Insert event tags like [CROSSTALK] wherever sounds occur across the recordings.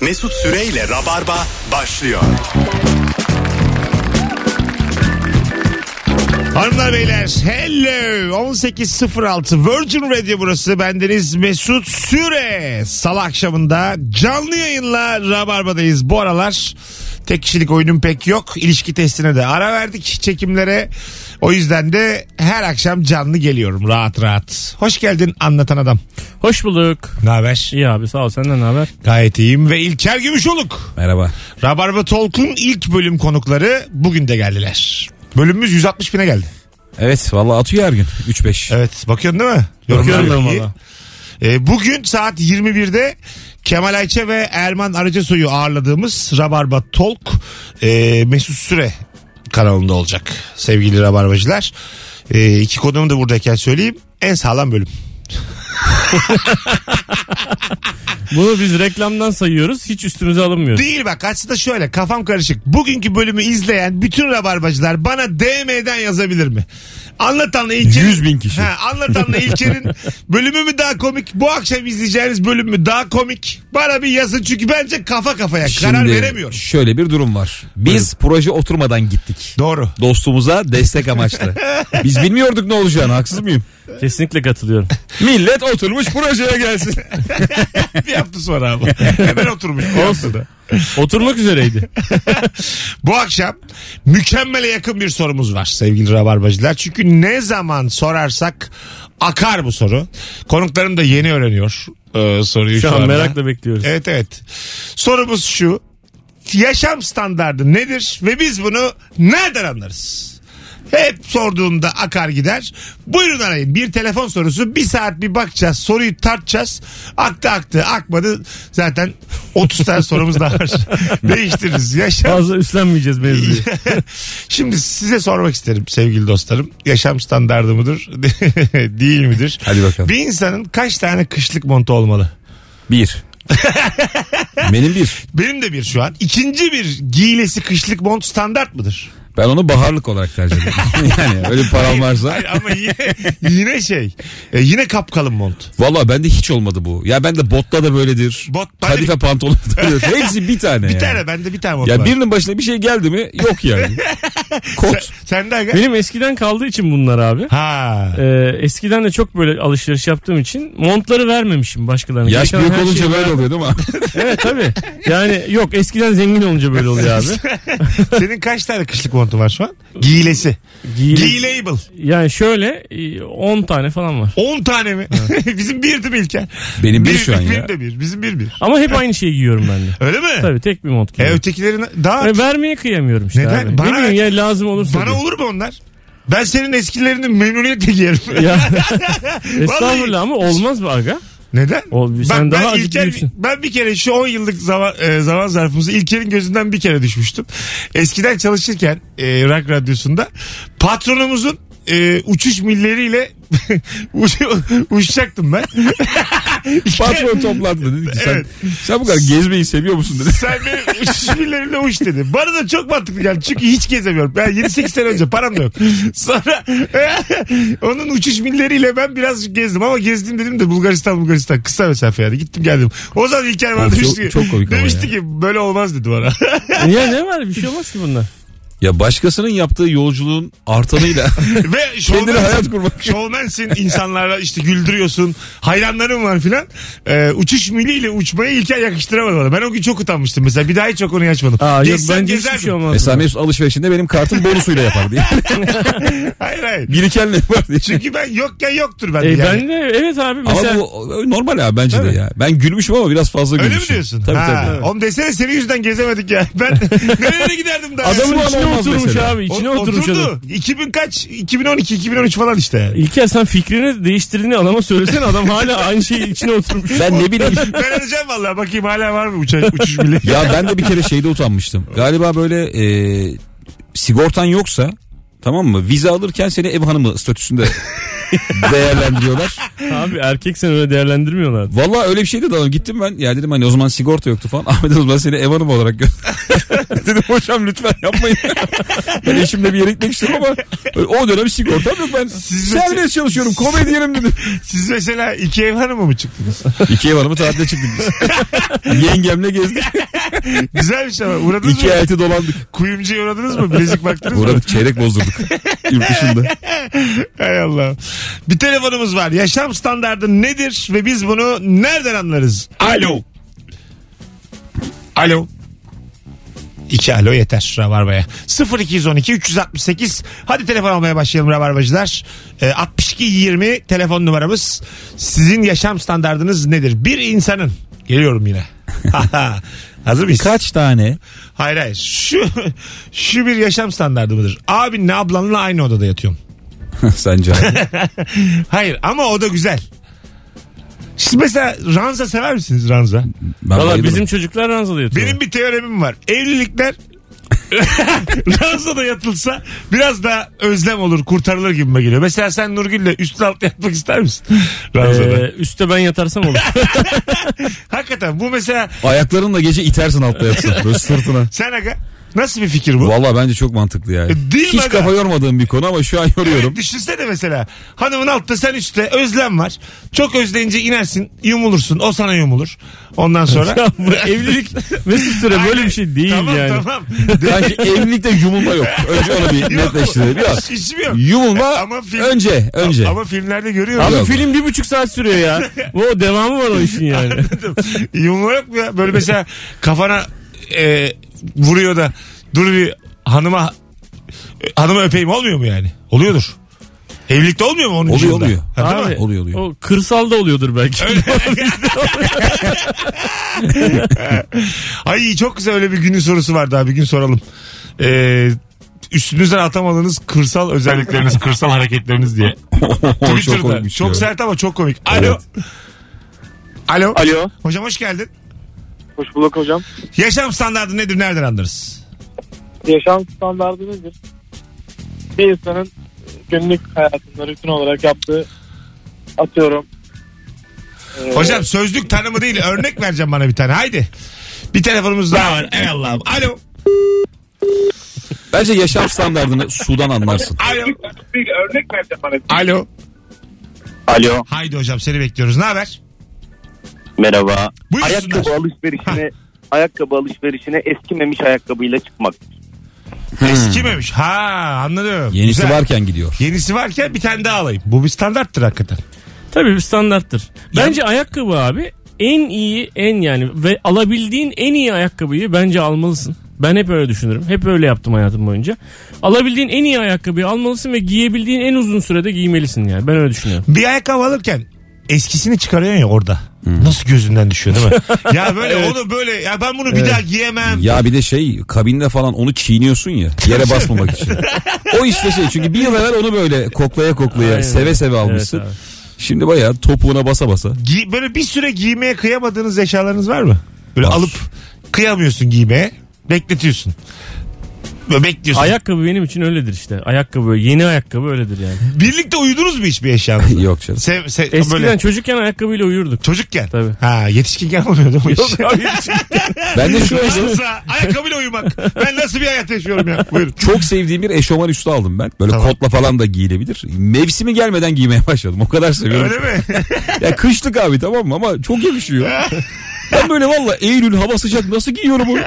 Mesut Süreyle Rabarba başlıyor. Hanımlar beyler hello 18.06 Virgin Radio burası bendeniz Mesut Süre Salı akşamında canlı yayınla Rabarba'dayız bu aralar tek kişilik oyunum pek yok ilişki testine de ara verdik çekimlere o yüzden de her akşam canlı geliyorum rahat rahat hoş geldin anlatan adam Hoş bulduk. ne haber İyi abi sağ ol senden ne haber? gayet iyiyim ve İlker Gümüşoluk Merhaba. Rabarba Talk'un ilk bölüm konukları bugün de geldiler bölümümüz 160 bine geldi Evet valla atıyor her gün 3-5. Evet bakıyorsun değil mi? Bakıyorum Yorumlar ben iyi. valla. Ee, bugün saat 21'de Kemal Ayça ve Erman Arıcısoy'u ağırladığımız Rabarba Talk e, Mesut Süre kanalında olacak sevgili Rabarbacılar. E, iki konuğum da buradayken söyleyeyim en sağlam bölüm. Bunu biz reklamdan sayıyoruz hiç üstümüze [LAUGHS] alınmıyor. Değil bak aslında şöyle kafam karışık. Bugünkü bölümü izleyen bütün rabarbacılar bana DM'den yazabilir mi? Anlatanla İlker'in... 100 bin kişi. Ha, anlatanla İlker'in bölümü mü daha komik? Bu akşam izleyeceğiniz bölüm mü daha komik? Bana bir yazın çünkü bence kafa kafaya karar veremiyorum. Şöyle bir durum var. Biz proje oturmadan gittik. Doğru. Dostumuza destek amaçlı. Biz bilmiyorduk ne olacağını haksız mıyım? Kesinlikle katılıyorum. Millet oturmuş [LAUGHS] projeye gelsin. [LAUGHS] bir hafta sonra ama. Hemen oturmuş. bir haftada. Oturmak [LAUGHS] üzereydi. Bu akşam mükemmele yakın bir sorumuz var sevgili rabarbacılar. Çünkü ne zaman sorarsak akar bu soru. Konuklarım da yeni öğreniyor e, soruyu şu, Şu an anda. merakla bekliyoruz. Evet evet. Sorumuz şu. Yaşam standardı nedir ve biz bunu nereden anlarız? Hep sorduğumda akar gider. Buyurun arayın. Bir telefon sorusu. Bir saat bir bakacağız. Soruyu tartacağız. Aktı aktı. Akmadı. Zaten 30 tane sorumuz daha [LAUGHS] var. Değiştiririz. Yaşam Fazla [LAUGHS] üstlenmeyeceğiz mevzuyu. Şimdi size sormak isterim sevgili dostlarım. Yaşam standardı mıdır? [LAUGHS] Değil midir? Hadi bakalım. Bir insanın kaç tane kışlık montu olmalı? Bir. Benim bir. Benim de bir şu an. İkinci bir giylesi kışlık mont standart mıdır? [LAUGHS] Ben onu baharlık olarak tercih ederim. [LAUGHS] yani öyle bir param varsa. Hayır ama yine, [LAUGHS] yine şey. E, yine kapkalın mont. Valla bende hiç olmadı bu. Ya ben de botta da böyledir. Bot- ben de- Kadife pantolon [LAUGHS] da böyledir. Hepsi bir tane Bir yani. tane bende bir tane mont Ya var. birinin başına bir şey geldi mi [LAUGHS] yok yani. Kot. Sen de aga. Benim eskiden kaldığı için bunlar abi. [LAUGHS] Ha. Ee, eskiden de çok böyle alışveriş yaptığım için montları vermemişim başkalarına. Yaş Gereken büyük her şey olunca şeyi böyle ver- oluyor değil mi? Evet tabii. Yani yok eskiden zengin olunca böyle oluyor [LAUGHS] abi. Senin kaç tane kışlık montun var şu an? Giylesi. Giyile- Giylable. yani şöyle e, 10 tane falan var. 10 tane mi? [LAUGHS] Bizim birdi mi İlker? Benim bir şu an Benim ya. de bir. Bizim bir bir. Ama hep aynı şeyi giyiyorum ben de. Öyle mi? Tabii tek bir mont E giyiyorum. ötekilerin daha E, Ve E, vermeye kıyamıyorum işte Neden? abi. Bana- ne bileyim ya lazım olursa. bana diye. olur mu onlar? Ben senin eskilerini memnuniyetle [LAUGHS] giyerim. [LAUGHS] Ya. [LAUGHS] Estağfurullah ama olmaz mı aga? Neden? O- ben, sen daha ben, acıklı İlker, değilsin. ben bir kere şu 10 yıllık zaman, e, zaman zarfımızı İlker'in gözünden bir kere düşmüştüm. Eskiden çalışırken e, Rock Radyosu'nda patronumuzun e, uçuş milleriyle [LAUGHS] uç, uçacaktım ben. Patron toplandı dedi ki sen, Evet. sen bu kadar gezmeyi seviyor musun dedi. Sen benim uçuş milleriyle uç dedi. Bana da çok mantıklı geldi. Çünkü hiç gezemiyorum. Ben 7-8 sene önce param da yok. Sonra [LAUGHS] onun uçuş milleriyle ben biraz gezdim. Ama gezdim dedim de Bulgaristan Bulgaristan. Kısa mesafe yani. Gittim geldim. O zaman İlker bana Abi çok- demişti, ki- çok komik ama demişti ya. ki böyle olmaz dedi bana. [LAUGHS] Ya ne var bir şey olmaz ki bunlar. [LAUGHS] Ya başkasının yaptığı yolculuğun artanıyla Ve [LAUGHS] kendine şovmensin. hayat kurmak. Şovmensin insanlarla işte güldürüyorsun. Hayranların var filan. Ee, uçuş miliyle uçmayı İlker yakıştıramadı bana. Ben o gün çok utanmıştım mesela. Bir daha hiç o konuyu açmadım. Aa, yok Gezsem bence hiçbir gezerdim. şey olmaz. Mesela Mesut alışverişinde benim kartım bonusuyla yapardı. [LAUGHS] Yani [LAUGHS] Hayır hayır. birikenle yapardı. Çünkü ben yokken yoktur bende E, yani. Ben de evet abi Ama mesela bu normal abi bence de ya. Ben gülmüşüm ama biraz fazla Öyle gülmüşüm. mi diyorsun? Tabii Ha, tabii. Oğlum desene senin yüzünden gezemedik ya. Ben nerelere giderdim daha. Adamın ya? içine bu olmaz oturmuş mesela. abi O- içine oturmuş adam. oturdu. 2000 kaç? 2012, 2013 falan işte. yani. İlker sen fikrini değiştirdiğini adama söylesene adam hala aynı şeyi içine oturmuş. Ben ne bileyim. [LAUGHS] ben arayacağım vallahi bakayım hala var mı uçak, uçuş bile. ya ben de bir kere şeyde utanmıştım. Galiba böyle e, sigortan yoksa tamam mı? Vize alırken seni ev [LAUGHS] hanımı statüsünde değerlendiriyorlar. abi erkek sen öyle değerlendirmiyorlar. şey [LAUGHS] Valla öyle bir şeydi de adam gittim ben. Ya dedim hani o zaman sigorta yoktu falan. Ahmet o zaman seni ev hanımı olarak gö- [LAUGHS] Dedim hocam lütfen yapmayın. [LAUGHS] ben eşimle bir yere gitmek istiyorum ama o dönem sigortam yok ben. serbest çalışıyorum komedyenim dedi. [LAUGHS] Siz mesela iki ev hanımı mı çıktınız? [LAUGHS] İki ev hanımı tatile çıktık biz. [LAUGHS] Yengemle gezdik. Güzel bir şey ama uğradınız İki mı? elti dolandık. Kuyumcuya uğradınız mı? Bilezik baktınız mı? Uğradık çeyrek bozdurduk. Yurt dışında. Hay Allah. Bir telefonumuz var. Yaşam standardı nedir ve biz bunu nereden anlarız? [LAUGHS] Alo. Alo. İki alo yeter Rabarba'ya. 0212 368 hadi telefon almaya başlayalım Rabarbacılar. Ee, 62 20 telefon numaramız. Sizin yaşam standardınız nedir? Bir insanın geliyorum yine. [LAUGHS] Hazır mıyız? Kaç [LAUGHS] tane? Hayır hayır. Şu, şu bir yaşam standardı mıdır? Abinle ablanla aynı odada yatıyorum. Sence abi? Hayır ama o da güzel. Siz mesela ranza sever misiniz ranza? Ben Valla bayılırım. bizim çocuklar ranzada yatıyor. Benim bir teoremim var. Evlilikler [LAUGHS] ranzada yatılsa biraz da özlem olur, kurtarılır gibime geliyor. Mesela sen Nurgül'le üstün altı yatmak ister misin? Ranzada. Ee, üste ben yatarsam [LAUGHS] olur. Hakikaten bu mesela Ayaklarınla gece itersin [LAUGHS] altta yatsa. Böyle sırtına. sen aga nasıl bir fikir bu? Valla bence çok mantıklı yani. E, Değil mi Hiç aga? kafa yormadığım bir konu ama şu an yoruyorum. Düşünsene mesela hanımın altta sen üstte özlem var. Çok özleyince inersin yumulursun o sana yumulur. Ondan [LAUGHS] sonra. Bu evlilik Mesut Süre böyle bir şey değil tamam, yani. Tamam [LAUGHS] Sanki evlilikte yumulma yok. Önce onu bir Yok. netleştirelim. Yok. [LAUGHS] Hiç mi yok? Yumulma Ama film- önce. önce. Ama filmlerde görüyorum. Abi Yok. film bir buçuk saat sürüyor ya. O devamı var o [LAUGHS] işin yani. Yumru yok mu ya? Böyle mesela kafana e, vuruyor da dur bir hanıma hanıma öpeyim olmuyor mu yani? Oluyordur. Evlilikte olmuyor mu onun Oluyor, yılında? oluyor. Ha, değil mi? Abi, Oluyor, oluyor. O kırsalda oluyordur belki. Ay çok güzel öyle bir günün sorusu vardı abi. Bir gün soralım. Ee, üstünüzden atamadığınız kırsal özellikleriniz, kırsal hareketleriniz diye. Twitter'da. [LAUGHS] çok şey komikmiş Çok ya. sert ama çok komik. Alo. Alo. Alo. Hocam hoş geldin. Hoş bulduk hocam. Yaşam standardı nedir? Nereden anlarız? Yaşam standardı nedir? Bir insanın e, günlük hayatında rutin olarak yaptığı atıyorum. e, Hocam sözlük tanımı değil örnek vereceğim bana bir tane haydi. Bir telefonumuz daha var. Ey Allah'ım. Alo. Bence yaşam standartını sudan anlarsın. Alo. Bir örnek vereceğim bana. Alo. Alo Haydi hocam seni bekliyoruz. Ne haber? merhaba. Buyursunlar. Ayakkabı alışverişine ayakkabı alışverişine eskimemiş ayakkabıyla çıkmak. Eskimemiş. Ha anladım. Yenisi Güzel. varken gidiyor. Yenisi varken bir tane daha alayım. Bu bir standarttır hakikaten. [LAUGHS] Tabii bir standarttır. Bence ayakkabı abi en iyi en yani ve alabildiğin en iyi ayakkabıyı bence almalısın. Ben hep öyle düşünürüm. Hep öyle yaptım hayatım boyunca. Alabildiğin en iyi ayakkabıyı almalısın ve giyebildiğin en uzun sürede giymelisin yani. Ben öyle [LAUGHS] düşünüyorum. Bir ayakkabı alırken eskisini çıkarıyorsun ya orada. Nasıl gözünden düşüyor değil mi? ya böyle onu böyle ya ben bunu bir daha giyemem. Ya bir de şey kabinde falan onu çiğniyorsun ya yere basmamak için. O işte şey çünkü bir yıl evvel onu böyle koklaya koklaya Aynen. seve seve almışsın. Evet abi. Şimdi bayağı topuğuna basa basa. [LAUGHS] Gi- böyle bir süre giymeye kıyamadığınız eşyalarınız var mı? Böyle Var. alıp kıyamıyorsun giymeye. Bekletiyorsun. Böyle bekliyorsun. Ayakkabı benim için öyledir işte. Ayakkabı yeni ayakkabı öyledir yani. Birlikte uyudunuz mu hiçbir [LAUGHS] eşyanızla? Yok canım. Se- se- Eskiden böyle çocukken ayakkabıyla uyurduk. çocukken. Tabii. Ha yetişkinken olmuyordu [LAUGHS] mu iş? Ben de şu an Nasılsa ayakkabıyla uyumak. Ben nasıl bir hayat yaşıyorum ya? Buyurun. çok sevdiğim bir eşofman üstü aldım ben. Böyle Tamam. kotla falan da giyilebilir. Mevsimi gelmeden giymeye başladım. O kadar seviyorum. Öyle [LAUGHS] mi? Ya kışlık abi tamam mı ama çok yakışıyor. Ben böyle valla Eylül hava sıcak nasıl [LAUGHS] giyiyorum onu?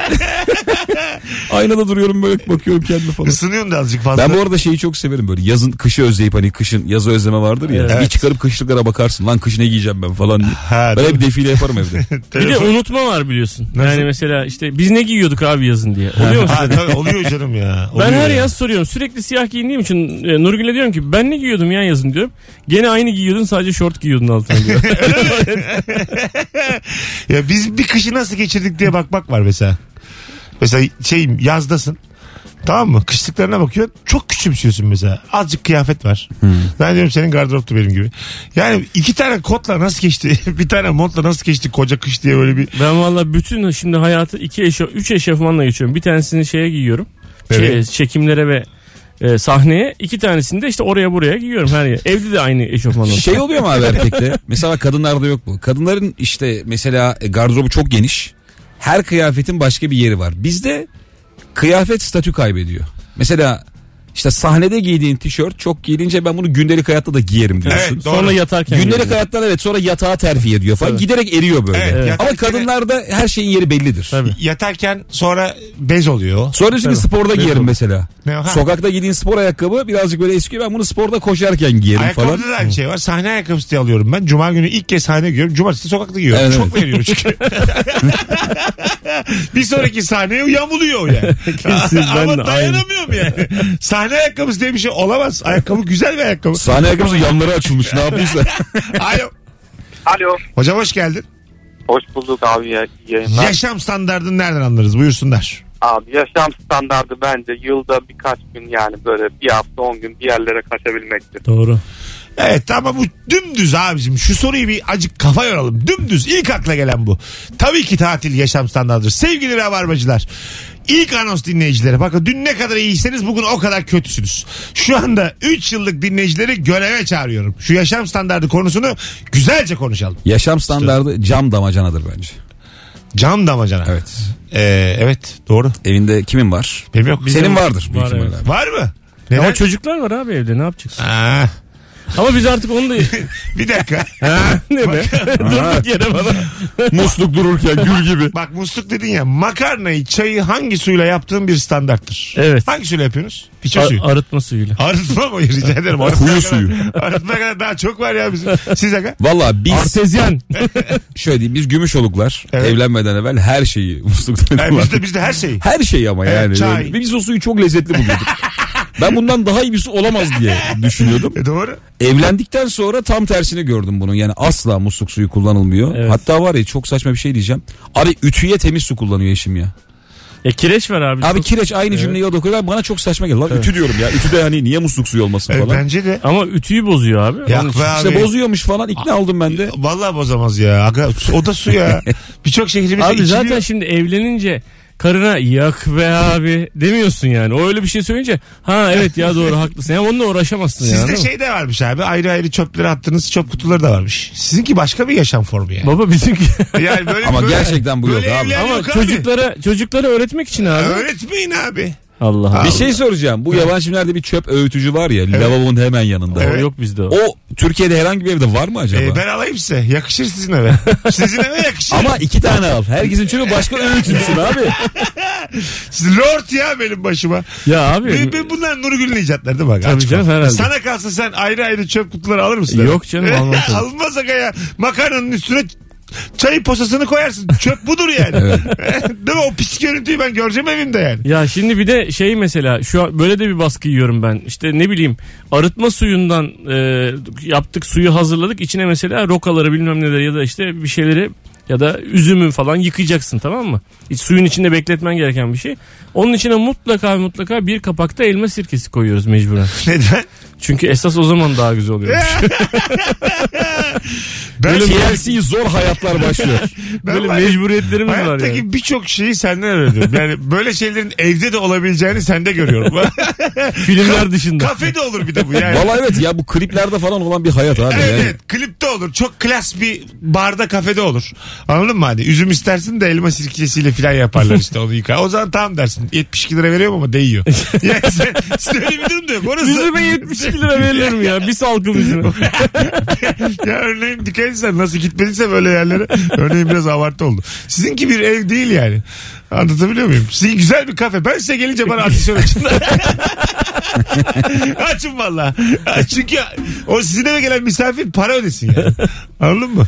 Aynada duruyorum böyle bakıyorum kendime falan. Isınıyorsun da azıcık fazla. Ben bu arada şeyi çok severim böyle yazın kışı özleyip hani kışın yazı özleme vardır ya. Evet. Bir çıkarıp kışlıklara bakarsın lan kış ne giyeceğim ben falan diye. Ha, ben değil hep defile yaparım evde. Bir de Telefon- unutma var biliyorsun. Nasıl? Yani mesela işte biz ne giyiyorduk abi yazın diye. Oluyor mu? Ha, tabii, oluyor canım ya. Ben Oluyor her ya. yaz soruyorum. Sürekli siyah giyindiğim için e, Nurgül'e diyorum ki ben ne giyiyordum ya yazın diyorum. Gene aynı giyiyordun sadece şort giyiyordun altına diyor. Ya biz bir kışı nasıl geçirdik diye bakmak var mesela. Mesela şeyim yazdasın. Tamam mı? Kışlıklarına bakıyorsun. Çok küçümsüyorsun mesela. Azıcık kıyafet var. Hmm. Ben diyorum senin gardıroptu benim gibi. Yani iki tane kotla nasıl geçti? [LAUGHS] bir tane montla nasıl geçti koca kış diye böyle bir. ben valla bütün şimdi hayatı iki eşo, üç eşofmanla geçiyorum. Bir tanesini şeye giyiyorum. Şey, Evet. çekimlere ve e, sahneye. iki tanesini de işte oraya buraya giyiyorum her yer. Evde de aynı eşofmanla. Şey oluyor mu abi erkekte? Mesela kadınlarda yok bu. e, Kadınların işte mesela gardırobu çok geniş. Her kıyafetin başka bir yeri var. Bizde kıyafet statü kaybediyor. Mesela işte sahnede giydiğin tişört çok giyilince ben bunu gündelik hayatta da giyerim diyorsun. Doğru. Sonra yatarken. Gündelik geliyor. hayattan evet sonra yatağa terfi ediyor falan. Tabii. Giderek eriyor böyle. Evet, Evet. Ama yatarken- kadınlarda her şeyin yeri bellidir. Tabii. Yatarken sonra bez oluyor. Sonra diyorsun ki sporda giyerim mesela. Ne, ha. Sokakta giydiğin spor ayakkabı birazcık böyle eski. Ben bunu sporda koşarken giyerim falan. Ayakkabıda da aynı şey var. Sahne ayakkabısı diye alıyorum ben. Cuma günü ilk kez sahne giyiyorum. Cumartesi sokakta giyiyorum. Evet, Çok veriyorum [LAUGHS] çünkü. [LAUGHS] bir sonraki sahneye yamuluyor yani. Kesin, ben Ama de dayanamıyorum yani. Sahne ayakkabısı diye bir şey olamaz. Ayakkabı güzel bir ayakkabı. Sahne ayakkabısı yanları açılmış ne yaptıysa. [LAUGHS] Alo. Alo. Hocam hoş geldin. Hoş bulduk abi ya, iyi yayınlar. Yaşam standartını nereden anlarız? Buyursunlar. Abi yaşam standardı bence yılda birkaç gün yani böyle bir hafta on gün bir yerlere kaçabilmektir. Doğru. Evet ama bu dümdüz abicim. Şu soruyu bir acık kafa yoralım. Dümdüz ilk akla gelen bu. Tabii ki tatil yaşam standartıdır. Sevgili rabarbacılar. ilk anons dinleyicilere bakın dün ne kadar iyiyseniz bugün o kadar kötüsünüz. Şu anda 3 yıllık dinleyicileri göreve çağırıyorum. Şu yaşam standardı konusunu güzelce konuşalım. Yaşam standardı cam damacanadır bence. Cam damacana. Evet. Evet. Ee, evet doğru. Evinde kimin var? Benim yok. Senin vardır büyük Var, ihtimalle. evet. Var mı? Neden? Ama çocuklar var abi evde ne yapacaksın? Aa, Ama biz artık onu da... bir [LAUGHS] dakika. ne be? Durduk yere bana. Musluk dururken gül gibi. Bak musluk dedin ya makarnayı çayı hangi suyla yaptığın bir standarttır. Evet. Hangi suyla yapıyorsunuz? Piçe suyu. Ar- arıtma suyuyla. Arıtma mı? [LAUGHS] Rica ederim. Arıtma Kuyu kadar- suyu. [LAUGHS] Arıtma kadar daha çok var ya bizim. Siz aga? Valla biz Artezyen. şöyle diyeyim biz gümüşoluklar Evet. evlenmeden evvel her şeyi [LAUGHS] musluktan Yani bizde, bizde her şeyi. Her şey ama Evet, yani. çay. Böyle. Ve Biz o suyu çok lezzetli buluyorduk. ben bundan daha iyi bir su olamaz diye düşünüyordum. E doğru. Evlendikten sonra tam tersini gördüm bunun. Yani asla musluk suyu kullanılmıyor. Evet. Hatta var ya çok saçma bir şey diyeceğim. Abi ütüye temiz su kullanıyor eşim ya. E kireç var abi. Abi Çok- kireç aynı cümleyi o da koyuyor. Bana çok saçma geldi. Lan ütü diyorum ya. Ütü de hani niye musluk suyu olmasın E, falan. bence de. Ama ütüyü bozuyor abi. Yak Onun için- be abi. İşte bozuyormuş falan. İkna aldım ben de. Vallahi bozamaz ya. Aga, o da su [LAUGHS] ya. Birçok şehrimizde Abi içiliyor. zaten şey şimdi evlenince karına yak be abi demiyorsun yani. O öyle bir şey söyleyince ha evet ya doğru haklısın. Ya onunla uğraşamazsın ya. Sizde değil mi? şey de varmış abi. Ayrı ayrı çöpleri attığınız çöp kutuları da varmış. Sizinki başka bir yaşam formu yani. Baba bizimki. yani böyle, Ama böyle- gerçekten bu yok böyle abi. evler Ama yok abi. çocuklara çocuklara öğretmek için abi. Öğretmeyin abi. Allah Allah. Bir şey soracağım. Bu yabancı filmlerde bir çöp öğütücü var ya. Lavabonun hemen yanında. O yok bizde o. O Türkiye'de herhangi bir evde var mı acaba? E, ben alayım size. Yakışır sizin [LAUGHS] eve. sizin eve yakışır. Ama iki tane al. Herkesin [LAUGHS] çöpü başka öğütülsün abi. Siz Lord ya benim başıma. Ya abi. Ve- ve bunlar Nurgül'ün icatları değil mi? Tabii canım, herhalde. Sana kalsın sen ayrı ayrı çöp kutuları alır mısın? [LAUGHS] Yok canım, almam tabii. Almaz aga ya. Makarnanın üstüne çayın posasını koyarsın. Çöp budur yani. [LAUGHS] [LAUGHS] değil mi? O pis görüntüyü ben göreceğim evimde yani. Ya şimdi bir de şey mesela şu an böyle de bir baskı yiyorum ben. İşte ne bileyim arıtma suyundan e, yaptık suyu hazırladık. İçine mesela rokaları bilmem neler ya da işte bir şeyleri ya da üzümü falan yıkayacaksın tamam mı? İç, suyun içinde bekletmen gereken bir şey. Onun içine mutlaka ve mutlaka bir kapakta elma sirkesi koyuyoruz mecburen. Neden? Çünkü esas o zaman daha güzel oluyor. Eh, Ben, şey- TLC zor hayatlar başlıyor. ben Böyle var ya, mecburiyetlerimiz şey var Hayattaki yani. birçok şeyi senden öğrendim. Yani böyle şeylerin evde de olabileceğini sende [LAUGHS] görüyorum. Filmler dışında. Kafede olur bir de bu [LAUGHS] [LAUGHS] yani. Valla evet ya bu kliplerde falan olan bir hayat abi. Evet, Yani. evet klipte olur. Çok klas bir barda kafede olur. Anladın mı hani? Üzüm istersin de elma sirkesiyle falan yaparlar işte onu yıkar. O zaman tamam dersin. 72 lira veriyorum ama değiyor. Yani sen, [LAUGHS] sen öyle bir durum da yok. Orası... Üzüme 72 lira verilir mi ya? Bir salkım [LAUGHS] üzüme. ya örneğin dikkat etsen nasıl gitmediyse böyle yerlere. Örneğin biraz abartı oldu. Sizinki bir ev değil yani. Anlatabiliyor muyum? Sizin güzel bir kafe. Ben size gelince bana atisyon açın. [LAUGHS] Açın valla. Çünkü o sizin eve gelen misafir para ödesin yani. Anladın mı?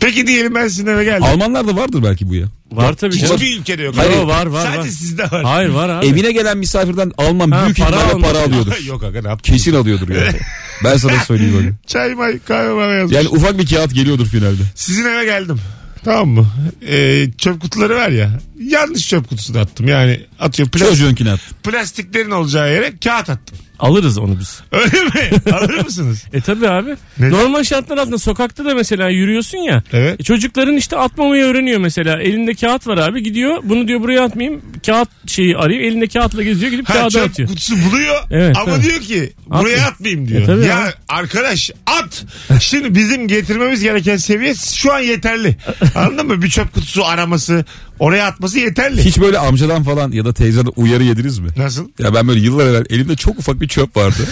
Peki diyelim ben sizin eve geldim. Almanlarda vardır belki bu ya. Var tabii canım. Hiçbir ülkede yok. Hayır, Ama var, var, Sadece var. sizde var. Hayır var abi. Evine gelen misafirden Alman Ha, büyük para ihtimalle almış. para alıyordur. [LAUGHS] Yok aga ne yaptın? Kesin [LAUGHS] alıyordur yani. Ben sana söyleyeyim öyle. Çay may kahve bana yazmış. Yani ufak bir kağıt geliyordur finalde. Sizin eve geldim. Tamam mı? Ee, çöp kutuları var ya. Yanlış çöp kutusunu attım. Yani atıyor plas- Çocuğunkini at. plastiklerin olacağı yere kağıt attım. Alırız onu biz. Öyle [LAUGHS] mi? Alır mısınız? E tabi abi. Ne- Normal şartlar altında sokakta da mesela yürüyorsun ya. Evet. E, çocukların işte atmamayı öğreniyor mesela. Elinde kağıt var abi gidiyor. Bunu diyor buraya atmayayım. Kağıt şeyi arayıp elinde kağıtla geziyor gidip Ha, kağıda çöp atıyor. kutusu buluyor Evet, ama tabii. diyor ki buraya atmayayım diyor. E, tabii ya ya. arkadaş at. Şimdi bizim getirmemiz gereken seviye şu an yeterli. Anladın mı? Bir çöp kutusu araması, Oraya atması yeterli. Hiç böyle amcadan falan ya da teyzeden uyarı yediniz mi? Nasıl? Ya ben böyle yıllar evvel elimde çok ufak bir [LAUGHS] çöp vardı.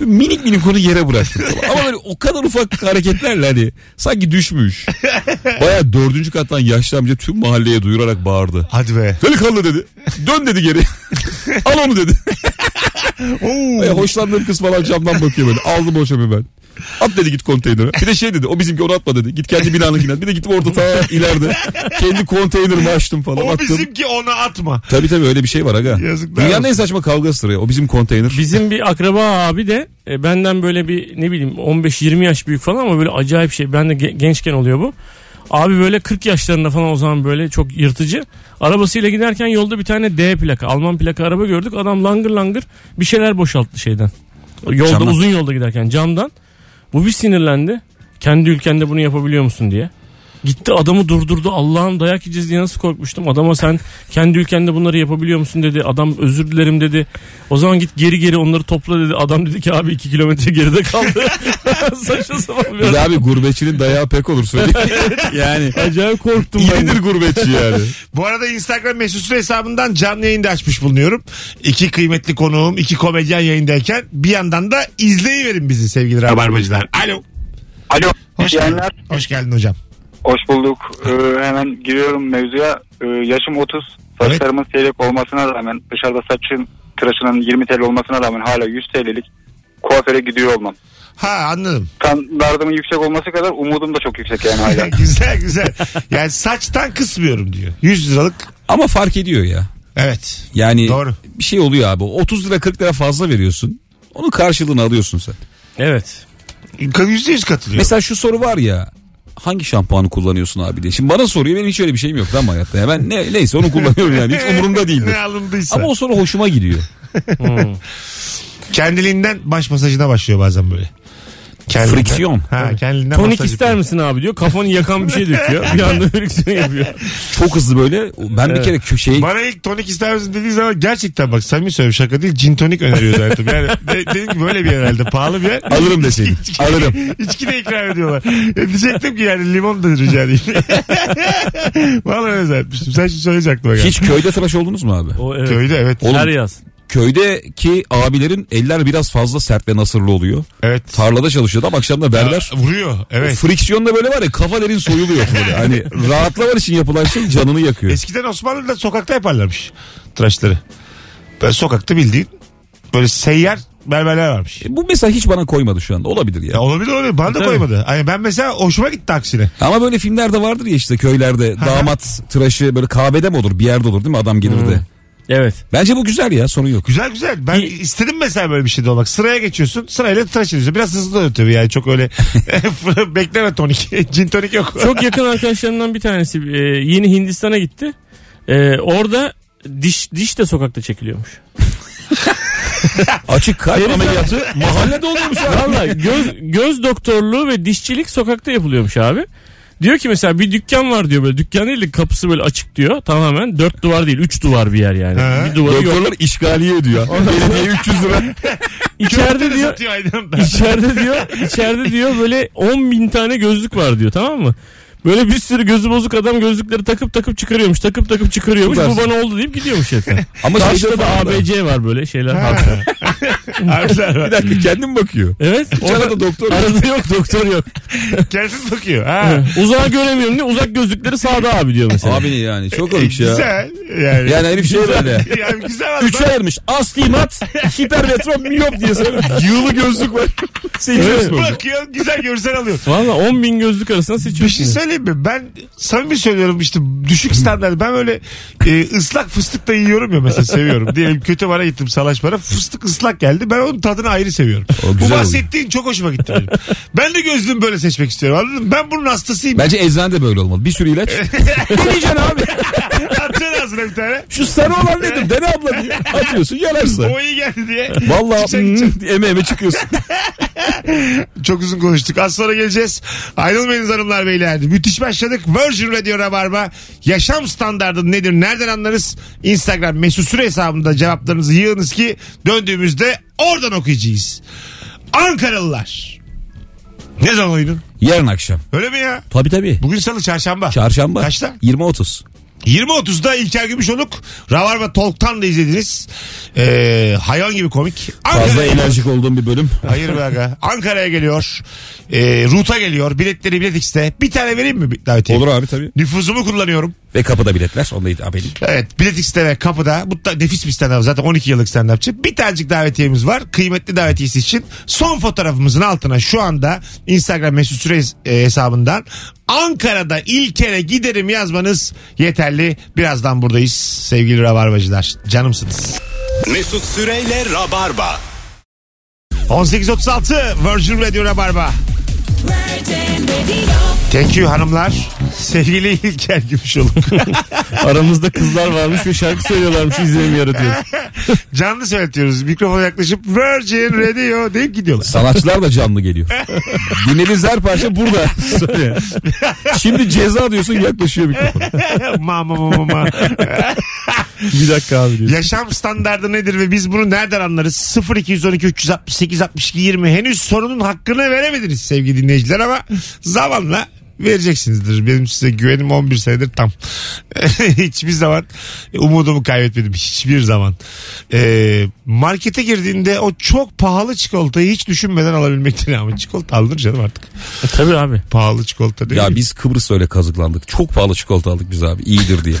Böyle minik minik onu yere bıraktım. tamam. Ama böyle o kadar ufak hareketlerle hani sanki düşmüş. Baya dördüncü kattan yaşlı amca tüm mahalleye duyurarak bağırdı. Hadi be. Delikanlı dedi. Dön [LAUGHS] dedi geri. Al onu dedi. Oo. Baya hoşlandığım kız falan camdan bakıyor böyle. Aldım o çöpü ben. At dedi git konteynere. Bir de şey dedi o bizimki onu atma dedi. Git kendi binanınkinden. Bir de gittim orada ta ileride. Kendi konteynerimi açtım falan. O attım. bizimki ona atma. Tabii tabii öyle bir şey var aga. Yazıklar Dünyanın olsun. en saçma kavgasıdır ya. O bizim konteyner. Bizim bir akraba abi de e, benden böyle bir ne bileyim 15-20 yaş büyük falan ama böyle acayip şey. Ben de ge- gençken oluyor bu. Abi böyle 40 yaşlarında falan o zaman böyle çok yırtıcı. Arabasıyla giderken yolda bir tane D plaka, Alman plaka araba gördük. Adam langır langır bir şeyler boşalttı şeyden. Yolda Camdan. uzun yolda giderken camdan. Bu bir sinirlendi. Kendi ülkende bunu yapabiliyor musun diye. Gitti adamı durdurdu. Allah'ım dayak yiyeceğiz diye nasıl korkmuştum. Adama sen kendi ülkende bunları yapabiliyor musun dedi. Adam özür dilerim dedi. O zaman git geri geri onları topla dedi. Adam dedi ki abi iki kilometre geride kaldı. [LAUGHS] Saçma sapan bir Bir de adam. abi gurbetçinin dayağı pek [LAUGHS] olur söyleyeyim. yani Acayip korktum ben. de. iyidir gurbetçi yani. Bu arada Instagram mesut süre hesabından canlı yayında açmış bulunuyorum. İki kıymetli konuğum, iki komedyen yayındayken bir yandan da izleyiverin bizi sevgili rabarbacılar. Alo. Alo. Hoş geldin. Diyenler. Hoş geldin hocam. Hoş bulduk. Ee, hemen giriyorum mevzuya. Ee, yaşım 30. Evet. Saçlarımın seyrek olmasına rağmen dışarıda saçın tıraşının 20 TL olmasına rağmen hala 100 TL'lik kuaföre gidiyor olmam. Ha anladım. Standartımın yüksek olması kadar umudum da çok yüksek yani [LAUGHS] hala. güzel güzel. Yani saçtan kısmıyorum diyor. 100 liralık. Ama fark ediyor ya. Evet. Yani Doğru. bir şey oluyor abi. 30 lira 40 lira fazla veriyorsun. Onun karşılığını alıyorsun sen. Evet. %100 katılıyor. Mesela şu soru var ya. Hangi şampuanı kullanıyorsun abi diye. Şimdi bana soruyor benim hiç öyle bir şeyim yok lan hayatta. Ya ben ne, neyse onu kullanıyorum yani hiç [LAUGHS] umurumda değildir. ne alındıysa. Ama o soru hoşuma gidiyor. Kendiliğinden baş masajına başlıyor bazen böyle. Kendiliğinden- Friksiyon. Ha, kendiliğinden Tonik masaj ister yapıyor. misin abi diyor. Kafanı yakan bir şey döküyor. Bir anda [LAUGHS] friksiyon yapıyor. Çok hızlı böyle ben bir kere şey köşeye Bana ilk tonik ister misin dediği zaman gerçekten bak samimi söylüyorum şaka değil gin tonik öneriyor zaten. Yani de, dedim ki böyle bir yer herhalde pahalı bir yer. [LAUGHS] alırım deseydin. alırım. İçki de ikram ediyorlar. Ya diyecektim ki yani limon da rica edeyim. [LAUGHS] Vallahi öyle zannetmiştim. Sen şimdi söyleyecektin aklıma geldi. Hiç köyde tıraş oldunuz mu abi? O evet. Köyde evet. Oğlum- Her yaz. Köydeki abilerin eller biraz fazla sert ve nasırlı oluyor. Evet. Tarlada çalışıyordu ama akşamda berber. Aa, Vuruyor evet. Friksiyonla böyle var ya kafa derin soyuluyor böyle. Hani rahatlama için yapılan şey canını yakıyor. Eskiden Osmanlı'da sokakta yaparlarmış tıraşları. Böyle sokakta bildiğin böyle seyyar berberler varmış. E, Bu mesela hiç bana koymadı şu anda. Olabilir ya. Ya olabilir olabilir. Bana da Tabii. koymadı. Ay ben mesela hoşuma gitti aksine. Ama böyle filmlerde vardır ya işte köylerde damat tıraşı böyle kahvede mi olur bir yerde olur değil mi adam gelir de. Evet. Bence bu güzel ya sorun yok. Güzel güzel. Ben Bir- istedim mesela böyle bir şeyde olmak. Sıraya geçiyorsun. Sırayla tıraş ediyorsun. Biraz hızlı da ötüyor yani. Çok öyle [LAUGHS] bekleme tonik. [LAUGHS] Cin tonik yok. Çok yakın arkadaşlarımdan bir tanesi e, yeni Hindistan'a gitti. E, orada diş diş de sokakta çekiliyormuş. Açık kalp ameliyatı mahallede oluyormuş abi. Valla göz, göz doktorluğu ve dişçilik sokakta yapılıyormuş abi. Diyor ki mesela bir dükkan var diyor böyle. Dükkan değil de kapısı böyle açık diyor. Tamamen dört duvar değil. Üç duvar bir yer yani. He. Bir duvarı [LAUGHS] yok. Doktorlar işgaliye ödüyor. Belediye 300 lira. İçeride Gökleri diyor satıyor aynı anda. İçeride diyor, içeride diyor böyle 10 bin tane gözlük var diyor tamam mı? Böyle bir sürü gözü bozuk adam gözlükleri takıp takıp çıkarıyormuş, takıp takıp çıkarıyormuş. Bu Süpersin. bana oldu deyip gidiyormuş herif. Ama şey şeyde Karşıda da falan da- ABC var böyle şeyler. harfler. Harfler Bir var. dakika kendim bakıyor. evet. Çarada Orada, doktor. arada yok doktor yok. Kendisi bakıyor. Ha. Uzağa göremiyorum diye uzak gözlükleri sağda abi diyor mesela. Abi ne yani çok olmuş ya. Güzel. Yani. Yani herif şey böyle. Yani güzel adam. Üçe ayırmış. Astimat, hipermetrop, miyop diye söylüyor. Yığılı gözlük var. Seçiyorsun. onu. Bakıyor güzel görsel alıyor. Valla 10 bin gözlük arasında Bir seçiyorsun. şey söyleyeyim mi? Ben samimi söylüyorum işte düşük standart. Ben öyle e, ıslak fıstık da yiyorum ya mesela seviyorum. Diyelim kötü bara gittim salaş bara fıstık ıslak geldi. Ben onun tadını ayrı seviyorum. O Bu güzel bahsettiğin çok hoşuma gitti benim. ben de gözlüğümü böyle seçmek istiyorum anladın mı? Ben bunun hastasıyım. Ben... Bence eczane de böyle olmalı. Bir sürü ilaç. Deneyeceksin abi. Atacaksın ağzına bir tane. Şu sarı olan nedir? Dene abla diye. Atıyorsun yanarsa. O iyi geldi diye. Vallahi Çıkacak, çıkacak. hmm, eme eme çıkıyorsun. Çok uzun konuştuk. Az sonra geleceğiz. Ayrılmayınız hanımlar beyler. Müthiş başladık. Virgin Radio Rabarba. Yaşam standardı nedir? Nereden anlarız? Instagram mesut süre hesabında cevaplarınızı yığınız ki döndüğümüzde oradan okuyacağız. Ankaralılar. Ne zaman oyunu? Yarın akşam. Öyle mi ya? Tabii tabii. Bugün salı çarşamba. Çarşamba. Kaçta? 20.30. 20.30'da İlker Gümüşoluk Ravarva Talk'tan da izlediniz. Ee, hayvan gibi komik. Fazla Ankara'ya- enerjik olduğum bir bölüm. Hayır be aga. Ankara'ya geliyor. Ee, Ruta geliyor. Biletleri Bilet X'te. Bir tane vereyim mi bir davetiye? Olur abi tabii. Nüfuzumu kullanıyorum. Ve kapıda biletler. Onu da haberim. Evet Bilet X'te ve kapıda. Bu da nefis bir stand Zaten 12 yıllık stand-upçı. Bir tanecik davetiyemiz var. Kıymetli davetiyesi için. Son fotoğrafımızın altına şu anda Instagram mesut süre hes- e, hesabından Ankara'da İlker'e giderim yazmanız yeterli. Birazdan buradayız sevgili Rabarbacılar. Canımsınız. Mesut Süreyle Rabarba. 18.36 Virgin Radio Rabarba. Thank you hanımlar. Sevgili İlker Gümüşoluk. Aramızda kızlar varmış ve şarkı söylüyorlarmış izlenim [LAUGHS] yaratıyor. Canlı söyletiyoruz. Mikrofona yaklaşıp Virgin Radio deyip gidiyorlar. [LAUGHS] Sanatçılar da canlı geliyor. Dinlediğiniz her parça burada. Söyle. Şimdi ceza diyorsun yaklaşıyor mikrofon. ma ma ma ma ma. Bir dakika abi diyor. Yaşam standardı nedir ve biz bunu nereden anlarız? 0212 368 62 20 henüz sorunun hakkını veremediniz sevgili dinleyiciler ama zamanla vereceksinizdir. Benim size güvenim 11 senedir tam. [LAUGHS] Hiçbir zaman umudumu kaybetmedim. Hiçbir zaman. Ee, markete girdiğinde o çok pahalı çikolatayı hiç düşünmeden alabilmektir ama çikolata alınır canım artık. Tabii abi. Pahalı çikolata değil. Ya biz Kıbrıs'ta öyle kazıklandık. Çok pahalı çikolata aldık biz abi. [LAUGHS] İyidir diye.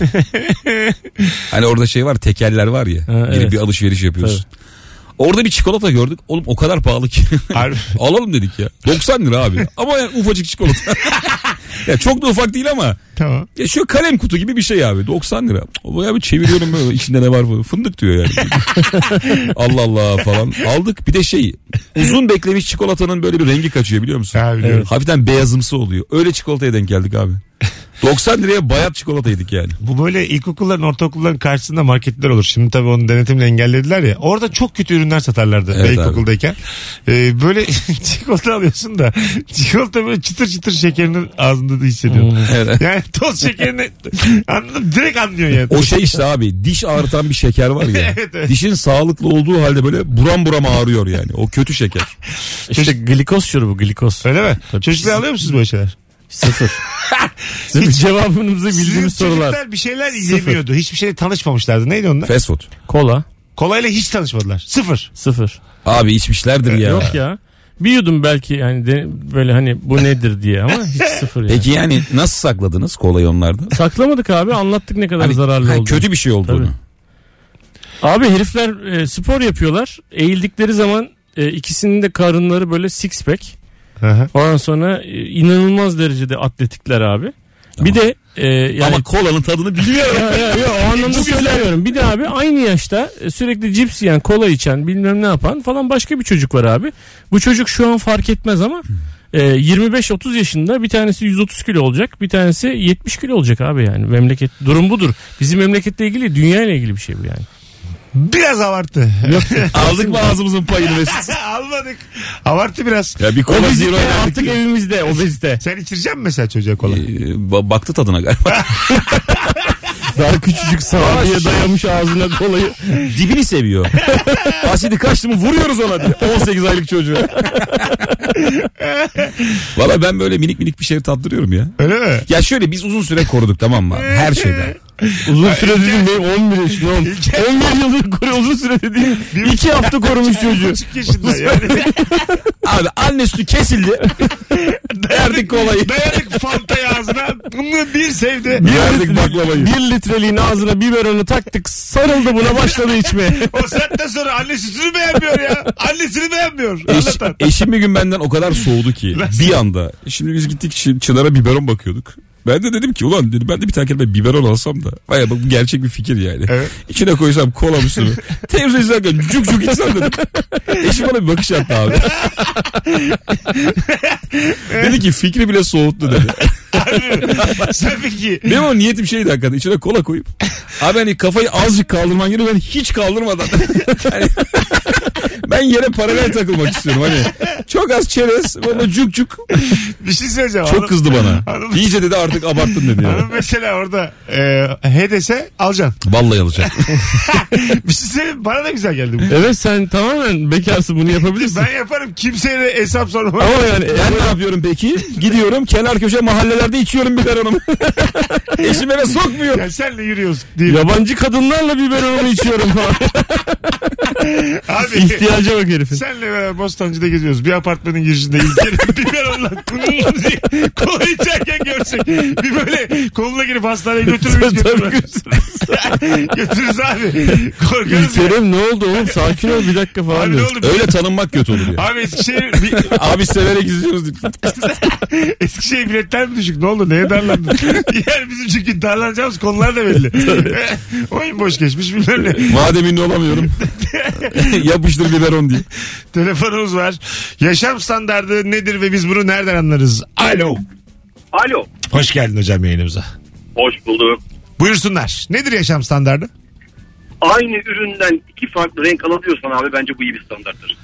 hani orada şey var tekeller var ya. Ha, Gidip evet. bir alışveriş yapıyorsun. Orada bir çikolata gördük. Oğlum o kadar pahalı ki. [LAUGHS] Harbi. [LAUGHS] Alalım dedik ya. 90 lira abi. Ama yani ufacık çikolata. [LAUGHS] ya çok da ufak değil ama. Tamam. Ya şu kalem kutu gibi bir şey abi. 90 lira. O ya bir çeviriyorum böyle içinde ne var falan. Fındık diyor yani. [LAUGHS] Allah Allah falan. Aldık bir de şey uzun beklemiş çikolatanın böyle bir rengi kaçıyor biliyor musun? Ha, biliyorum. Hafiften beyazımsı oluyor. Öyle çikolataya denk geldik abi. 90 liraya bayat çikolata yedik yani. Bu böyle ilkokulların, ortaokulların karşısında marketler olur. Şimdi tabii onu denetimle engellediler ya. Orada çok kötü ürünler satarlardı Evet ben abi. ilkokuldayken. Ee, böyle [LAUGHS] çikolata alıyorsun da çikolata böyle çıtır çıtır şekerini ağzında da hissediyorsun. Evet. Yani toz şekerini [LAUGHS] anladım direkt anlıyor yani. O şey işte abi diş ağrıtan bir şeker var ya. [LAUGHS] Evet, evet. Dişin sağlıklı olduğu halde böyle buram buram ağrıyor yani. O kötü şeker. İşte glikoz şurubu glikoz. Öyle mi? Tabii. Çocuklar alıyor musunuz böyle şeyler? [LAUGHS] Sıfır. Bizim Hiç- cevabımızı Sizin bildiğimiz sorular. çocuklar bir şeyler yemiyordu. Hiçbir şeyle tanışmamışlardı. Neydi onlar? Fast food. Kola Kolayla hiç tanışmadılar. Sıfır. sıfır. Abi içmişlerdir ya. Yok ya. Bir yudum belki yani de, böyle hani bu nedir diye ama [LAUGHS] hiç sıfır yani. Peki yani nasıl sakladınız kolayı onlarda? Saklamadık abi anlattık ne kadar Hani- zararlı ha, olduğunu. Kötü bir şey olduğunu. Tabii. Abi herifler e, spor yapıyorlar. Eğildikleri zaman e, ikisinin de karınları böyle six pack. Aha. Ondan sonra e, inanılmaz derecede atletikler abi. Bir de e, yani Ama kolanın tadını biliyorum. [LAUGHS] Ya, ya, ya, o anlamda söylemiyorum. Bir de abi aynı yaşta e, sürekli cips yiyen, kola içen, bilmem ne yapan falan başka bir çocuk var abi. Bu çocuk şu an fark etmez ama e, 25-30 yaşında bir tanesi 130 kilo olacak, bir tanesi 70 kilo olacak abi yani. Memleket durum budur. Bizim memleketle ilgili, dünya ile ilgili bir şey bu yani. Biraz abarttı. Aldık mı ağzımızın payını Mesut? [LAUGHS] Almadık. Abarttı biraz. [LAUGHS] Ya bir kola zero Obezite yedik. artık evimizde obezite. Sen içireceksin mi mesela çocuğa kola? Ee, ba- baktı tadına galiba. [LAUGHS] Daha küçücük sağlığa dayamış ağzına kolayı. [LAUGHS] Dibini seviyor. [LAUGHS] Asidi kaçtı mı vuruyoruz ona diye. 18 aylık [LAUGHS] çocuğa. Valla ben böyle minik minik bir şey tattırıyorum ya. Öyle mi? Ya şöyle biz uzun süre koruduk tamam mı? abi? Her [LAUGHS] şeyden. Uzun süre dediğim benim 11 yaşında oğlum. 11 yıldır koru- uzun süre dediğim 2 hafta korumuş çocuğu. Küçük yaşında [LAUGHS] yani. Abi anne sütü kesildi. Verdik kolayı. Dayadık fantayı ağzına. Bunu bir sevdi. Verdik baklavayı. 1 litreliğin ağzına biberonu taktık sarıldı buna başladı içmeye. O saatten sonra annesini beğenmiyor ya. Annesini beğenmiyor. Eş- Anlatan. eşim bir gün benden o kadar soğudu ki bir anda. Şimdi biz gittik Çı- Çınar'a biberon bakıyorduk. Ben de dedim ki ulan dedi, ben de bir tane kelime biberon alsam da. Vay bak bu gerçek bir fikir yani. Evet. İçine koysam kola üstüne. Televizyon izlerken cuk cuk içsem dedim. Eşim bana bir bakış attı abi. dedi ki fikri bile soğuttu dedi. Sen peki. Benim o niyetim şeydi hakikaten içine kola koyup. Abi hani kafayı azıcık kaldırman gerekiyor ben hiç kaldırmadan. Yani [LAUGHS] ben yere paralel takılmak istiyorum hani. Çok az çerez bana cuk cuk. Bir şey söyleyeceğim. Çok Hanım- kızdı bana. Hanım- İyice dedi artık abarttın dedi ya. Hanım mesela orada e, he dese alacaksın. Vallahi alacak. Bir şey söyleyeyim bana da güzel geldi bu. [LAUGHS] [LAUGHS] Evet sen tamamen bekarsın bunu yapabilirsin. Ben yaparım kimseye de hesap sormam. e, Ama yani ben ne yapıyorum peki? Gidiyorum kenar köşe mahallelere kahvelerde [LAUGHS] içiyorum biberonumu. Eşim eve sokmuyor. Ya senle yürüyoruz diye. Yabancı kadınlarla biberonumu [LAUGHS] içiyorum falan. Abi İhtiyaca bak herifin. senle beraber Bostancı'da geziyoruz. Bir apartmanın girişinde [LAUGHS] ilk biber onunla diye kola içerken görsek. Bir böyle koluna girip hastaneye götürürüz Tabii. götürürüz. [LAUGHS] götürürüz abi. Korkarız ya. İlker'im ne oldu oğlum sakin ol bir dakika falan. Abi ne diyor. oldu? Öyle tanınmak kötü olur ya. Abi Eskişehir, bir, Abi severek izliyoruz. Eskişehir biletler mi düşük? Ne oldu? Neye darlandın? [LAUGHS] yani bizim çünkü darlanacağımız konular da belli. [LAUGHS] Oyun boş geçmiş bilmem ne. Madem ünlü olamıyorum. [LAUGHS] Yapıştır biberon diye. Telefonumuz var. Yaşam standardı nedir ve biz bunu nereden anlarız? Alo. Alo. Hoş geldin hocam yayınımıza. Hoş bulduk. Buyursunlar. Nedir yaşam standardı? Aynı üründen iki farklı renk alabiliyorsan abi bence bu iyi bir standarttır.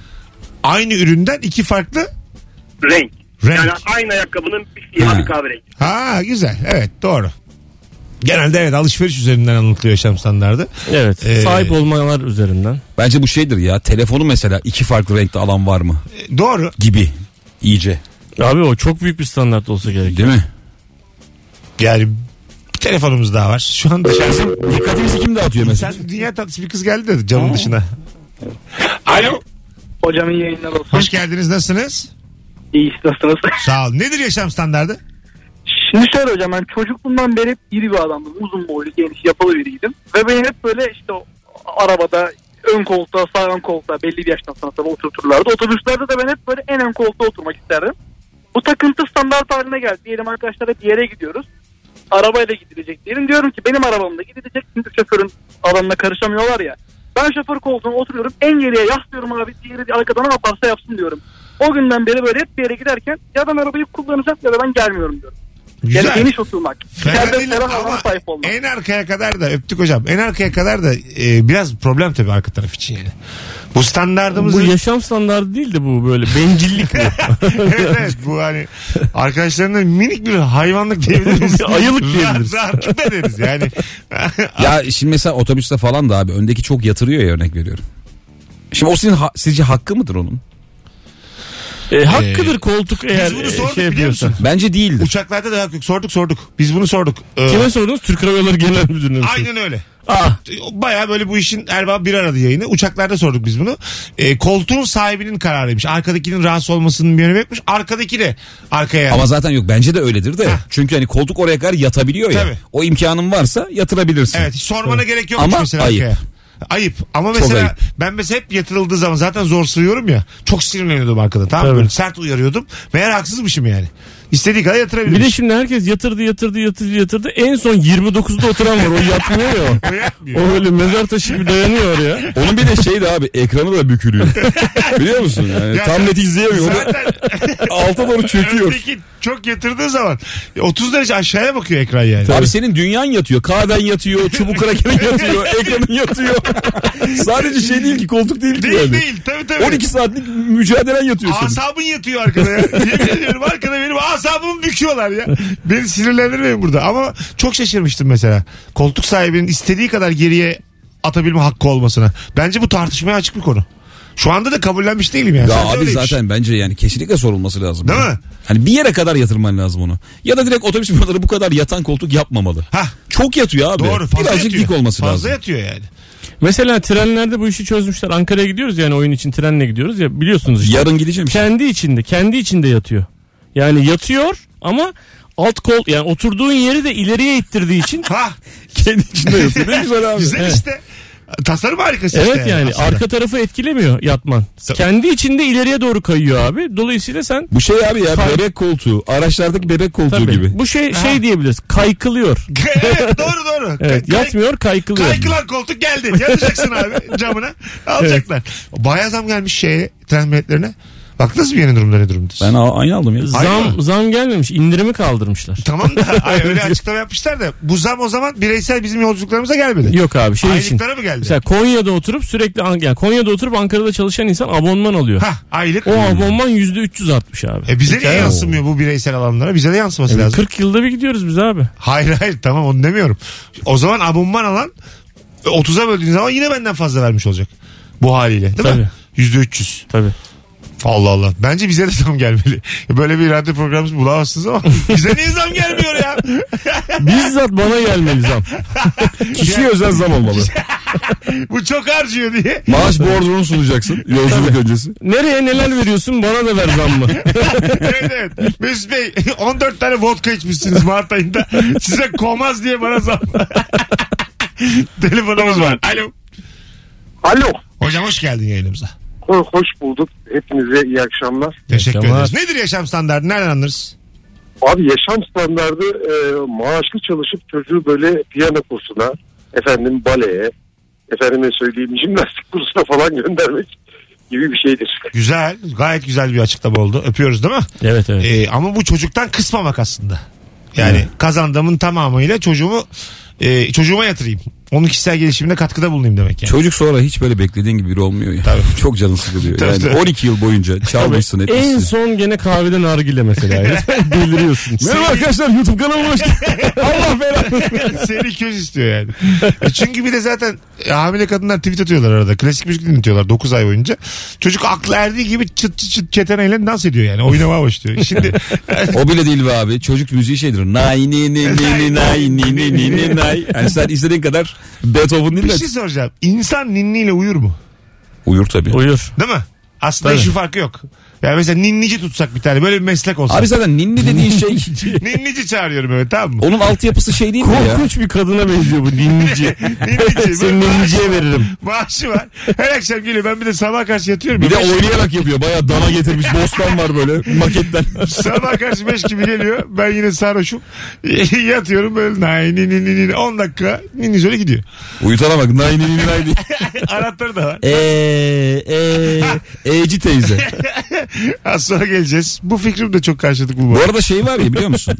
Aynı üründen iki farklı Renk. renk. Yani aynı ayakkabının bir siyah Ha. bir kahverengi. Ha güzel. Evet doğru. Genelde evet alışveriş üzerinden anlatılıyor yaşam standardı. Evet Ee, sahip olmalar üzerinden. Bence bu şeydir ya. Telefonu mesela iki farklı renkte alan var mı? E, Doğru. Gibi. İyice. Abi o çok büyük bir standart olsa gerek. Değil mi? Yani bir telefonumuz daha var. Şu an dışarısı. Dikkatimizi kim dağıtıyor mesela? Sen dünya tatlısı bir kız geldi de camın dışına. Alo. Hocam iyi yayınlar olsun. Hoş geldiniz. Nasılsınız? İyi iş, nasılsınız? Sağ ol. Nedir yaşam standardı? Şimdi şöyle hocam ben çocukluğumdan beri hep iri bir adamdım. Uzun boylu, geniş, yapalı biriydim. Ve beni hep böyle işte o arabada ön koltuğa, sağ ön koltuğa belli bir yaştan sonra tabii oturturlardı. Otobüslerde de ben hep böyle en ön koltuğa oturmak isterdim. Bu takıntı standart haline geldi. Diyelim arkadaşlar hep bir yere gidiyoruz. Arabayla gidilecek diyelim. Diyorum ki benim arabamda gidilecek. Şimdi şoförün alanına karışamıyorlar ya. Ben şoför koltuğuna oturuyorum. En geriye yaslıyorum abi. Diğeri de arkadan ne yaparsa yapsın diyorum. O günden beri böyle hep bir yere giderken ya ben arabayı kullanacağım ya da ben gelmiyorum diyorum. Yani Güzel. geniş oturmak. Fena İçeride değil ferah ama alana sahip olmak. en arkaya kadar da öptük hocam. En arkaya kadar da e, biraz problem tabii arka taraf için yani. Bu standartımızı Bu yaşam standartı değil de bu böyle bencillik mi? evet, evet, bu hani arkadaşlarına minik bir hayvanlık diyebiliriz. [LAUGHS] Bir ayılık diyebiliriz. Rahat, rahatlık da deriz yani. Ya şimdi mesela otobüste falan da abi öndeki çok yatırıyor ya örnek veriyorum. Şimdi o sizin ha- sizce hakkı mıdır onun? E, hakkıdır koltuk eğer Ee, bunu e, sorduk şey biliyor yapıyorsa. musun? Bence değildir. Uçaklarda da yok. Sorduk sorduk. Biz bunu sorduk. Ee, Kime sordunuz? Türk Hava Yolları Genel Müdürlüğü'ne mi sordunuz? aynen öyle. Ah, Baya böyle bu işin erbabı bir aradı yayını. Uçaklarda sorduk biz bunu. Ee, koltuğun sahibinin kararıymış. Arkadakinin rahatsız olmasının bir önemi yokmuş. Arkadaki de arkaya. Ama zaten yok bence de öyledir de. Çünkü hani koltuk oraya kadar yatabiliyor ya. Tabii. O imkanın varsa yatırabilirsin. Evet hiç sormana gerek yok Ama mesela ayıp. arkaya. Ayıp. Ama mesela ayıp. ben mesela hep yatırıldığı zaman zaten zor sığıyorum ya. Çok sinirleniyordum arkada. Tamam mı? Tabii. böyle sert uyarıyordum. Meğer haksızmışım yani. İstediği kadar yatırabilir. bir de şimdi herkes yatırdı yatırdı yatırdı yatırdı. En son 29'da oturan var. O [LAUGHS] yatmıyor ya. şey o. [LAUGHS] O öyle mezar taşı gibi dayanıyor ya. Onun bir de şey de abi ekranı [LAUGHS] da bükülüyor. Biliyor musun? Yani Ya tam net izleyemiyor. Onu Zaten alta doğru çöküyor. öteki çok yatırdığı zaman 30 derece aşağıya bakıyor ekran yani. Abi senin dünyan yatıyor. K'den yatıyor, çubuk krakerin yatıyor, [LAUGHS] ekranın yatıyor. Sadece şey değil ki koltuk değil ki Değil yani. değil tabii tabii. 12 saatlik mücadelen yatıyor senin. Asabın yatıyor arkada ya. [LAUGHS] Yemin ediyorum arkada benim asabımı büküyorlar ya. Beni sinirlendirmeyin burada. Ama çok şaşırmıştım mesela. Koltuk sahibinin istediği kadar geriye atabilme hakkı olmasına. Bence bu tartışmaya açık bir konu. Şu anda da kabullenmiş değilim yani. Ya Sence abi öyleymiş. zaten bence yani kesinlikle sorulması lazım. şey- Değil Ya. mi? Hani bir yere kadar yatırman lazım onu. Ya da direkt otobüs firmaları bu kadar yatan koltuk yapmamalı. Hah. Çok yatıyor abi. Doğru fazla Birazcık yatıyor. dik olması fazla lazım. yatıyor yani. Mesela trenlerde bu işi çözmüşler. Ankara'ya gidiyoruz yani oyun için trenle gidiyoruz ya biliyorsunuz işte. Yarın gideceğim. işte. kendi içinde kendi içinde yatıyor. Yani yatıyor ama alt kol yani oturduğun yeri de ileriye ittirdiği için Ha [LAUGHS] Kendi içinde yatıyor. Ne güzel abi. güzel işte. Tasarım harikası işte. evet yani aslında. arka tarafı etkilemiyor yatman. Tabii. Kendi içinde ileriye doğru kayıyor abi. Dolayısıyla sen Bu şey abi ya bebek koltuğu. Araçlardaki bebek koltuğu tabii gibi. bu şey şey diyebiliriz. Kaykılıyor. [LAUGHS] evet doğru doğru. Evet, Kay- yatmıyor kaykılıyor. Kaykılan koltuk geldi. Yatacaksın abi camına. Alacaklar. Bayağı zam gelmiş şeye tren biletlerine. Baktınız mı yeni durumda ne durumdasın? Ben a- aynı aldım ya. Hayır Zam mı? zam gelmemiş. indirimi kaldırmışlar. Tamam da [LAUGHS] ay, öyle açıklama yapmışlar da bu zam o zaman bireysel bizim yolculuklarımıza gelmedi. Yok abi şey için. Aylıklara mı geldi? Mesela Konya'da oturup sürekli An- yani Konya'da oturup Ankara'da çalışan insan abonman alıyor. Hah aylık. O Hmm. abonman %300 artmış abi. E bize niye yansımıyor bu bireysel alanlara? Bize de yansıması Yani lazım. 40 yılda bir gidiyoruz [LAUGHS] biz abi. Hayır hayır tamam onu demiyorum. O zaman abonman alan e, 30'a böldüğün zaman yine benden fazla vermiş olacak. Bu haliyle değil mi? %300. Tabii. Allah Allah. Bence bize de zam gelmeli. Böyle bir radyo programımız bulamazsınız ama [LAUGHS] bize niye zam gelmiyor ya? Bizzat bana gelmeli zam. Kişiye özel zam olmalı. Bu çok harcıyor diye. Maaş [LAUGHS] bordronu sunacaksın yolculuk öncesi. Nereye neler veriyorsun bana da ver zam [LAUGHS] mı? Evet evet. Mesut Bey [LAUGHS] 14 tane vodka içmişsiniz Mart ayında. Size komaz diye bana zam. [LAUGHS] Telefonumuz var. Alo. Alo. Hocam hoş geldin yayınımıza. Hoş bulduk. Hepinize iyi akşamlar. Teşekkür Akşamlar. ederiz. Nedir yaşam standartı? Nereden anlarız? Abi yaşam standardı e, maaşlı çalışıp çocuğu böyle piyano kursuna, efendim baleye, efendime söyleyeyim jimnastik kursuna falan göndermek gibi bir şeydir. Güzel. Gayet güzel bir açıklama oldu. Öpüyoruz değil mi? evet evet. Ee, ama bu çocuktan kısmamak aslında. Yani kazandığımın tamamıyla çocuğumu e, çocuğuma yatırayım. Onun kişisel gelişimine katkıda bulunayım demek yani. Çocuk sonra hiç böyle beklediğin gibi biri olmuyor ya. Çok canı sıkılıyor. Tabii, yani tabii. 12 yıl boyunca çalmışsın en etmişsin. son gene kahvede [LAUGHS] nargile mesela. Deliriyorsun. Sevgili- arkadaşlar YouTube kanalıma hoş geldiniz. [LAUGHS] Allah [LAUGHS] belanı. Seni köz istiyor yani. E Çünkü bir de zaten e, hamile kadınlar tweet atıyorlar arada. Klasik müzik dinletiyorlar 9 ay boyunca. Çocuk aklı erdiği gibi çıt çıt çıt çeteneyle dans ediyor yani. Oynamaya başlıyor. [LAUGHS] Şimdi O bile değil be abi. Çocuk müziği şeydir. Nay ni ni ni ni nay ni ni ni ni nay. Yani sen istediğin kadar Beethoven bir dinle. şey soracağım. İnsan ninniyle uyur mu? Uyur tabii. Uyur. Değil mi? Aslında Tabii. şu farkı yok. Yani mesela ninnici tutsak bir tane. Böyle bir meslek olsa. Abi zaten ninni dediğin şey ninnici çağırıyorum evet tamam mı? onun altyapısı şey değil mi ya? Korkunç bir kadına benziyor [LAUGHS] bu dinleyici. Ninnici. [LAUGHS] Seni ninciye veririm. Maaşı var. Her akşam geliyor. Ben bir de sabah karşı yatıyorum. Bir de Beş- oynayarak yapıyor. Bayağı dana getirmiş. Bostan var böyle maketten. Sabah karşı 5 gibi geliyor. Ben yine sarhoşum. [LAUGHS] Yatıyorum böyle nay ni ni ni ni 10 dakika ninni şöyle [LAUGHS] gidiyor. Uyutana bak. Nay ni ni ni nay diye. Anahtarı da var. Eee eee Ee, e, Eci teyze. Az sonra geleceğiz. Bu fikrim de çok karşılık bu. E- Bu arada şey var ya biliyor musun?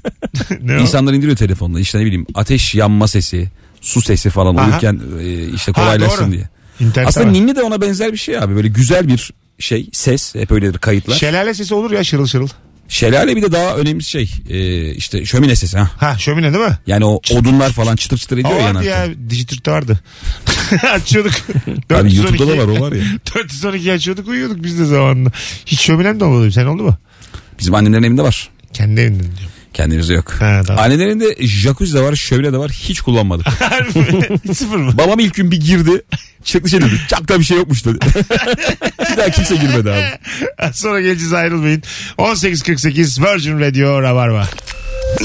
ne o? İnsanlar indiriyor telefonla işte ne bileyim ateş yanma sesi, su sesi falan Aha. uyurken e, işte kolaylaşsın doğru. diye. İnternet Aslında var. ninni de ona benzer bir şey abi böyle güzel bir şey ses hep öyledir kayıtlar. Şelale sesi olur ya şırıl şırıl. Şelale bir de daha önemli şey e, işte şömine sesi ha. Ha şömine değil mi? Yani o odunlar falan çıtır çıtır O ediyor vardı yanarken. ya. Dijitürk'te vardı. [LAUGHS] açıyorduk. [LAUGHS] 412 Abi YouTube'da da var [LAUGHS] o var ya. 412 açıyorduk uyuyorduk biz de zamanında. Hiç şöminem de olmadı. Sen oldu mu? Bizim annelerin evinde var. Kendi evinde [LAUGHS] diyorum. Kendimizde yok. Ha, tamam. Annelerin de jacuzzi de var, şömine de var. Hiç kullanmadık. Harbi mi? Sıfır mı? Babam ilk gün bir girdi. Çıktı şey dedi. Çakta bir şey yokmuş dedi. [LAUGHS] bir daha kimse girmedi abi. Az [LAUGHS] Sonra geleceğiz ayrılmayın. 18.48 Virgin Radio Rabarba.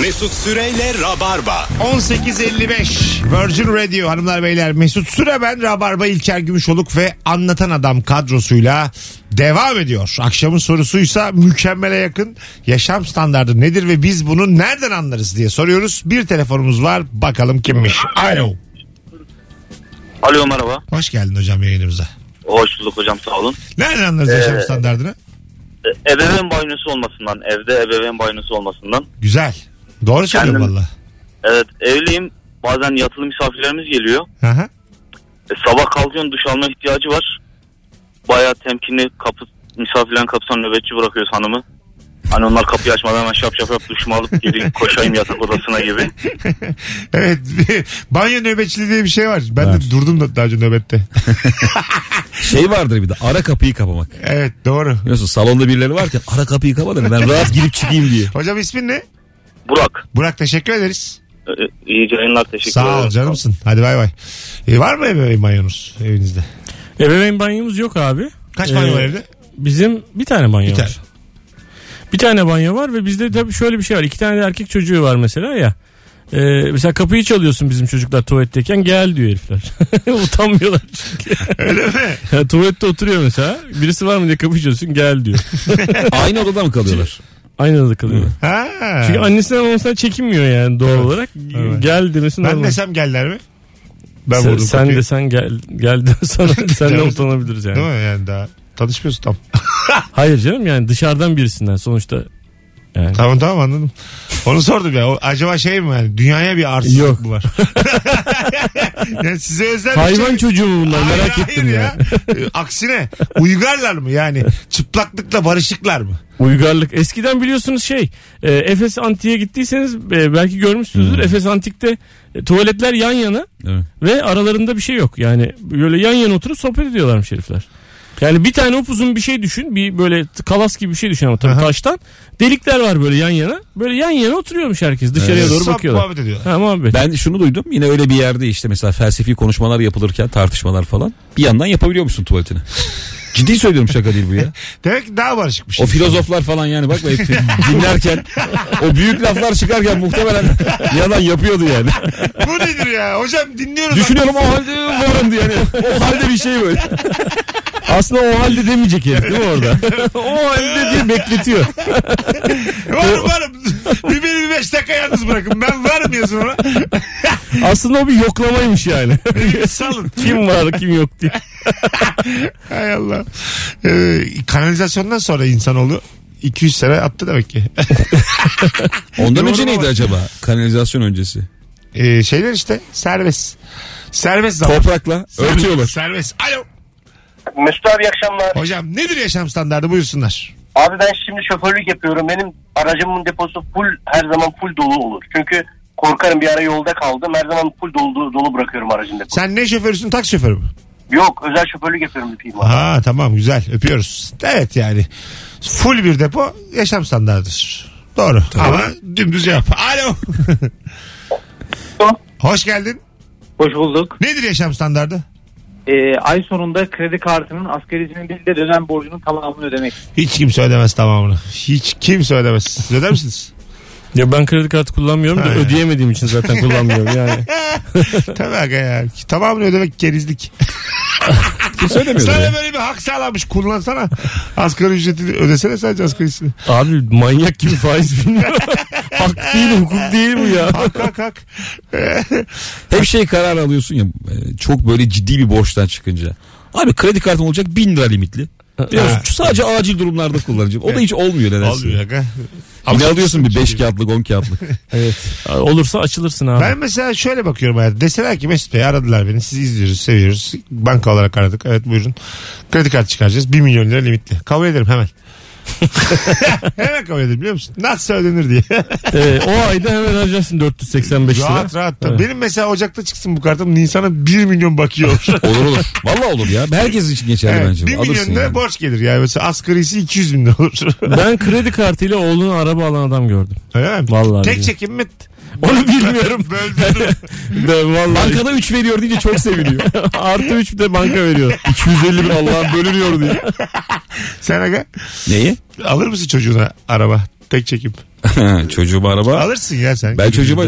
Mesut Süreyle Rabarba. 18.55 Virgin Radio hanımlar beyler Mesut Süre ben Rabarba İlker Gümüşoluk ve Anlatan Adam kadrosuyla devam ediyor. Akşamın sorusuysa mükemmele yakın yaşam standardı nedir ve biz bunu nereden anlarız diye soruyoruz. Bir telefonumuz var bakalım kimmiş. Alo. Alo merhaba. Hoş geldin hocam yayınımıza. Hoş bulduk hocam sağ olun. Ee, Nereden anlarız yaşam standartını? E, Ebeveyn banyosu olmasından, evde ebeveyn banyosu olmasından. Güzel. Doğru söylüyorsun Kendim- valla. Evet evliyim. Bazen yatılı misafirlerimiz geliyor. Aha. E, sabah kalkıyorsun duş alma ihtiyacı var. Bayağı temkinli kapı misafirlerin kapısına nöbetçi bırakıyoruz hanımı. Hani onlar kapıyı açmadan hemen şap şap şap duşumu alıp geleyim koşayım yatak odasına gibi. [LAUGHS] Evet. [LAUGHS] Banyo nöbetçiliği diye bir şey var. Ben de durdum da daha önce nöbette. [LAUGHS] Şey vardır bir de ara kapıyı kapamak. evet doğru. Biliyorsun salonda birileri varken ara kapıyı kapatın ben rahat girip çıkayım diye. Hocam ismin ne? Burak Burak teşekkür ederiz. e, e, iyi yayınlar teşekkür ederim. Sağ ol canımsın. Hadi bay bay. E, var mı ebeveyn banyonuz evinizde? Ebeveyn banyomuz yok abi. Kaç Ee, banyo var evde? Bizim bir tane banyo Bir tane. var. Bir tane banyo var ve bizde tabii şöyle bir şey var. İki tane de erkek çocuğu var mesela ya. Ee, mesela kapıyı çalıyorsun bizim çocuklar tuvaletteyken gel diyor herifler. [LAUGHS] Utanmıyorlar. Öyle mi? Ya, tuvalette oturuyor mesela. Birisi var mı diye kapıyı çalıyorsun gel diyor. Aynı odada mı kalıyorlar? Aynı odada kalıyor. Ha. Çünkü annesinden babasından çekinmiyor yani doğal olarak. Evet. Gel demesi ben normal. desem geller mi? Ben sen, vurdum sen kapıyı. desen gel, [LAUGHS] gel desen sen de Canım. utanabiliriz yani. Değil mi yani daha? Tanışmıyoruz tam. Hayır canım yani dışarıdan birisinden sonuçta. Yani. [LAUGHS] Tamam tamam anladım. Onu sordum ya. O, acaba şey mi yani? Dünyaya bir arsızlık Yok. mı [LAUGHS] var? [LAUGHS] yani size özel bir şey Hayvan mi? çocuğu mu bunlar Hayır, merak hayır ettim ya. [LAUGHS] E, Aksine uygarlar mı yani? Çıplaklıkla barışıklar mı? Uygarlık. Eskiden biliyorsunuz şey e, Efes Antik'e gittiyseniz e, belki görmüşsünüzdür. Hmm. Efes Antik'te e, tuvaletler yan yana Evet. ve aralarında bir şey yok. Yani böyle yan yana oturup sohbet ediyorlarmış herifler. Yani bir tane upuzun bir şey düşün. Bir böyle t- kalas gibi bir şey düşün ama tabii taştan. Delikler var böyle yan yana. Böyle yan yana oturuyormuş herkes. Dışarıya doğru Ee, Sap bakıyorlar. muhabbet ediyorlar. Ha muhabbet. Ben şunu duydum yine öyle bir yerde işte mesela felsefi konuşmalar yapılırken tartışmalar falan bir yandan yapabiliyor musun tuvaletini? Ciddi söylüyorum şaka değil bu ya. Demek ki daha barışık bir şey. O filozoflar falan yani bakma hepsi dinlerken o büyük laflar çıkarken muhtemelen [LAUGHS] yalan yapıyordu yani. Bu nedir ya? Hocam dinliyoruz. Düşünüyorum o halde varım diye yani. O halde bir şey böyle. Aslında o halde demeyecek herif değil mi [LAUGHS] orada? o halde diye bekletiyor. Varım varım. bir beni bir beş dakika yalnız bırakın. Ben varım yazın [LAUGHS] ona. Aslında o bir yoklamaymış yani. Salın. [LAUGHS] kim var kim yok diye. Hay Allah. Ee, kanalizasyondan sonra insanoğlu 200 sene attı demek ki. [LAUGHS] Ondan Doğru önce ama. neydi acaba? Kanalizasyon öncesi. Ee, şeyler işte serbest. Serbest zaman. Toprakla örtüyorlar. Serbest. Alo. Mesut abi iyi akşamlar. Hocam nedir yaşam standardı buyursunlar. Abi ben şimdi şoförlük yapıyorum. Benim aracımın deposu full her zaman full dolu olur. Çünkü korkarım bir ara yolda kaldım. Her zaman full dolu, dolu bırakıyorum aracın deposunu. Sen ne şoförüsün? Tak şoförü mü? Yok özel şoförlük yapıyorum bir firma. Ha tamam güzel öpüyoruz. Evet yani full bir depo yaşam standartıdır. Doğru ama dümdüz cevap. Alo. Hoş geldin. Hoş bulduk. Nedir yaşam standardı? Ee, ay sonunda kredi kartının askericinin değil de dönem borcunun tamamını ödemek. Hiç kimse ödemez tamamını. Hiç kimse ödemez. Siz öder misiniz? Ya ben kredi kartı kullanmıyorum da Ha. ödeyemediğim için zaten kullanmıyorum [LAUGHS] yani. Tabii aga ya. Tamamını ödemek kerizlik. Kimse ödemiyor. Sana ya. böyle bir hak sağlanmış. Kullansana. Asgari ücretini ödesene sadece asgarisini. Abi manyak gibi faiz [LAUGHS] bilmiyor. Hak değil hukuk değil bu ya. Hak hak hak. Hep şey karar alıyorsun ya e, çok böyle ciddi bir borçtan çıkınca. Abi kredi kartım olacak 1000 lira limitli. Diyorsun, Ha. sadece acil durumlarda kullanacağım. O da hiç olmuyor nedense. Olmuyor aga. Yine alıyorsun bir 5 kağıtlık 10 kağıtlık. [LAUGHS] Olursa açılırsın abi. Ben mesela şöyle bakıyorum hayata. Deseler ki Mesut Bey aradılar beni. Sizi izliyoruz, seviyoruz. Banka olarak aradık. Evet buyurun. Kredi kartı çıkaracağız. 1 milyon lira limitli. Kabul ederim [LAUGHS] hemen. hemen kabul ederim biliyor musun? Nasıl ödenir diye. Ee, o ayda hemen harcarsın 485 lira. rahat rahat. da. Benim mesela Ocak'ta çıksın bu kartım. Nisan'a 1 milyon bakıyor. Olur olur. Valla olur ya. Herkes için geçerli evet, [LAUGHS] bence. bu. 1 milyon Alırsın lira yani. borç gelir. Yani mesela asgarisi 200 bin lira olur. [LAUGHS] Ben kredi kartıyla oğlunu araba alan adam gördüm. Öyle mi? Vallahi Tek billahi. çekim mi? Onu [LAUGHS] bilmiyorum. [LAUGHS] Böldüm. Ben vallahi Bankada 3 veriyor deyince çok seviniyor. [LAUGHS] artı 3 de banka veriyor. 250 bin Allah'ım bölünüyor diye. Sen aga [LAUGHS] Neyi? alır mısın çocuğuna araba? Tek çekim. çocuğuma araba. Alırsın ya sen. Ben çocuğuma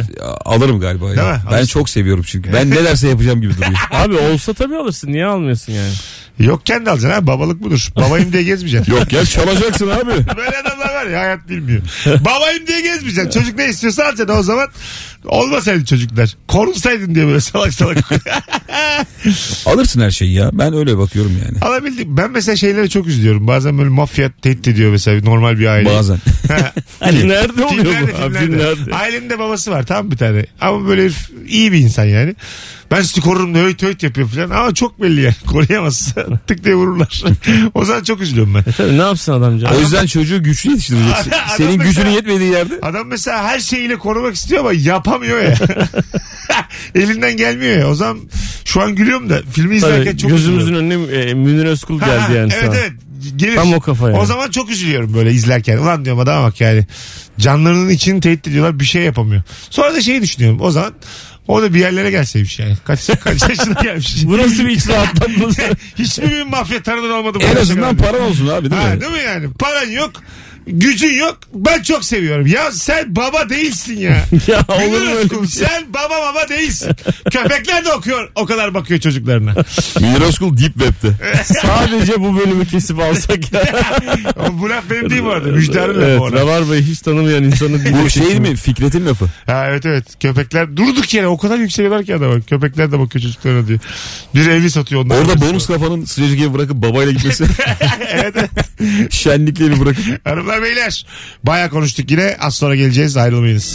alırım galiba. ya. Değil mi? Ben Alırsın. çok seviyorum çünkü. Ben ne derse yapacağım gibi duruyor. Abi olsa tabii alırsın. Niye almıyorsun yani? Yokken de alacaksın ha. Babalık budur. Babayım diye [LAUGHS] gezmeyeceksin. [LAUGHS] Yok gel çalacaksın abi. Böyle adamlar var ya hayat bilmiyor. Babayım diye gezmeyeceksin. Çocuk ne istiyorsa alacaksın o zaman. Olmasaydı çocuklar. Korunsaydın diye böyle salak [LAUGHS] salak. Alırsın her şeyi ya. Ben öyle bakıyorum yani. Alabildim. Ben mesela şeylere çok üzülüyorum. Bazen böyle mafya tehdit ediyor mesela normal bir aile. [LAUGHS] Bazen. Hani nerede oluyor Filmlerde, bu? Abi filmlerde. filmlerde. Ailenin de babası var tamam bir tane. Ama böyle herif iyi bir insan yani. Ben sizi korurum diye öğüt öğüt yapıyor falan. Ama çok belli yani. [LAUGHS] Koruyamazsın. Tık diye vururlar. [LAUGHS] o zaman çok üzülüyorum ben. Tabii ne yapsın adamca? O yüzden çocuğu [LAUGHS] güçlü yetiştireceksin. Adam Senin mesela- gücünün yetmediği yerde. Adam mesela her şeyiyle korumak istiyor ama yapamıyor [LAUGHS] ya. Elinden gelmiyor ya. O zaman şu an gülüyorum da filmi izlerken Tabii, çok gözümüzün üzülüyorum. önüne e, Münir Özkul Ha, ha, geldi yani Evet sana. evet. Gelir. Tam o kafa yani. O zaman çok üzülüyorum böyle izlerken. Ulan diyorum adama bak yani. Canlarının içini tehdit ediyorlar bir şey yapamıyor. Sonra da şeyi düşünüyorum. O zaman o da bir yerlere gelseymiş yani. [LAUGHS] Kaç, kaç yaşına gelmiş. Bu nasıl bir [LAUGHS] iç rahatlatması? Hiçbir bir mafya tanıdan olmadı. bu En yaşa azından kadar. paran olsun abi değil Ha, mi? değil mi yani? Paran yok. Gücün yok. Ben çok seviyorum. Ya sen baba değilsin [LAUGHS] ya. [LAUGHS] ya olur Olur mu öyle bir şey? Sen baba baba değilsin. Köpekler de okuyor. O kadar bakıyor çocuklarına. Münir Özkul Deep Web'de. Sadece bu bölümü kesip alsak ya. O, bu laf benim değil bu arada. Müjdarın evet, lafı ona. Rabarba'yı hiç tanımayan insanı Bu şey mi? Fikret'in lafı. Ha, evet evet. Köpekler durduk yere o kadar yükseliyorlar ki adama. Köpekler de bakıyor çocuklarına diyor. Bir evli satıyor onlar. [LAUGHS] Orada bonus kafanın sıcacık bırakıp babayla [LAUGHS] gitmesi. evet. evet. Şenlikleri bırakıp. Hanımlar beyler. Baya konuştuk yine. Az sonra geleceğiz. Ayrılmayınız.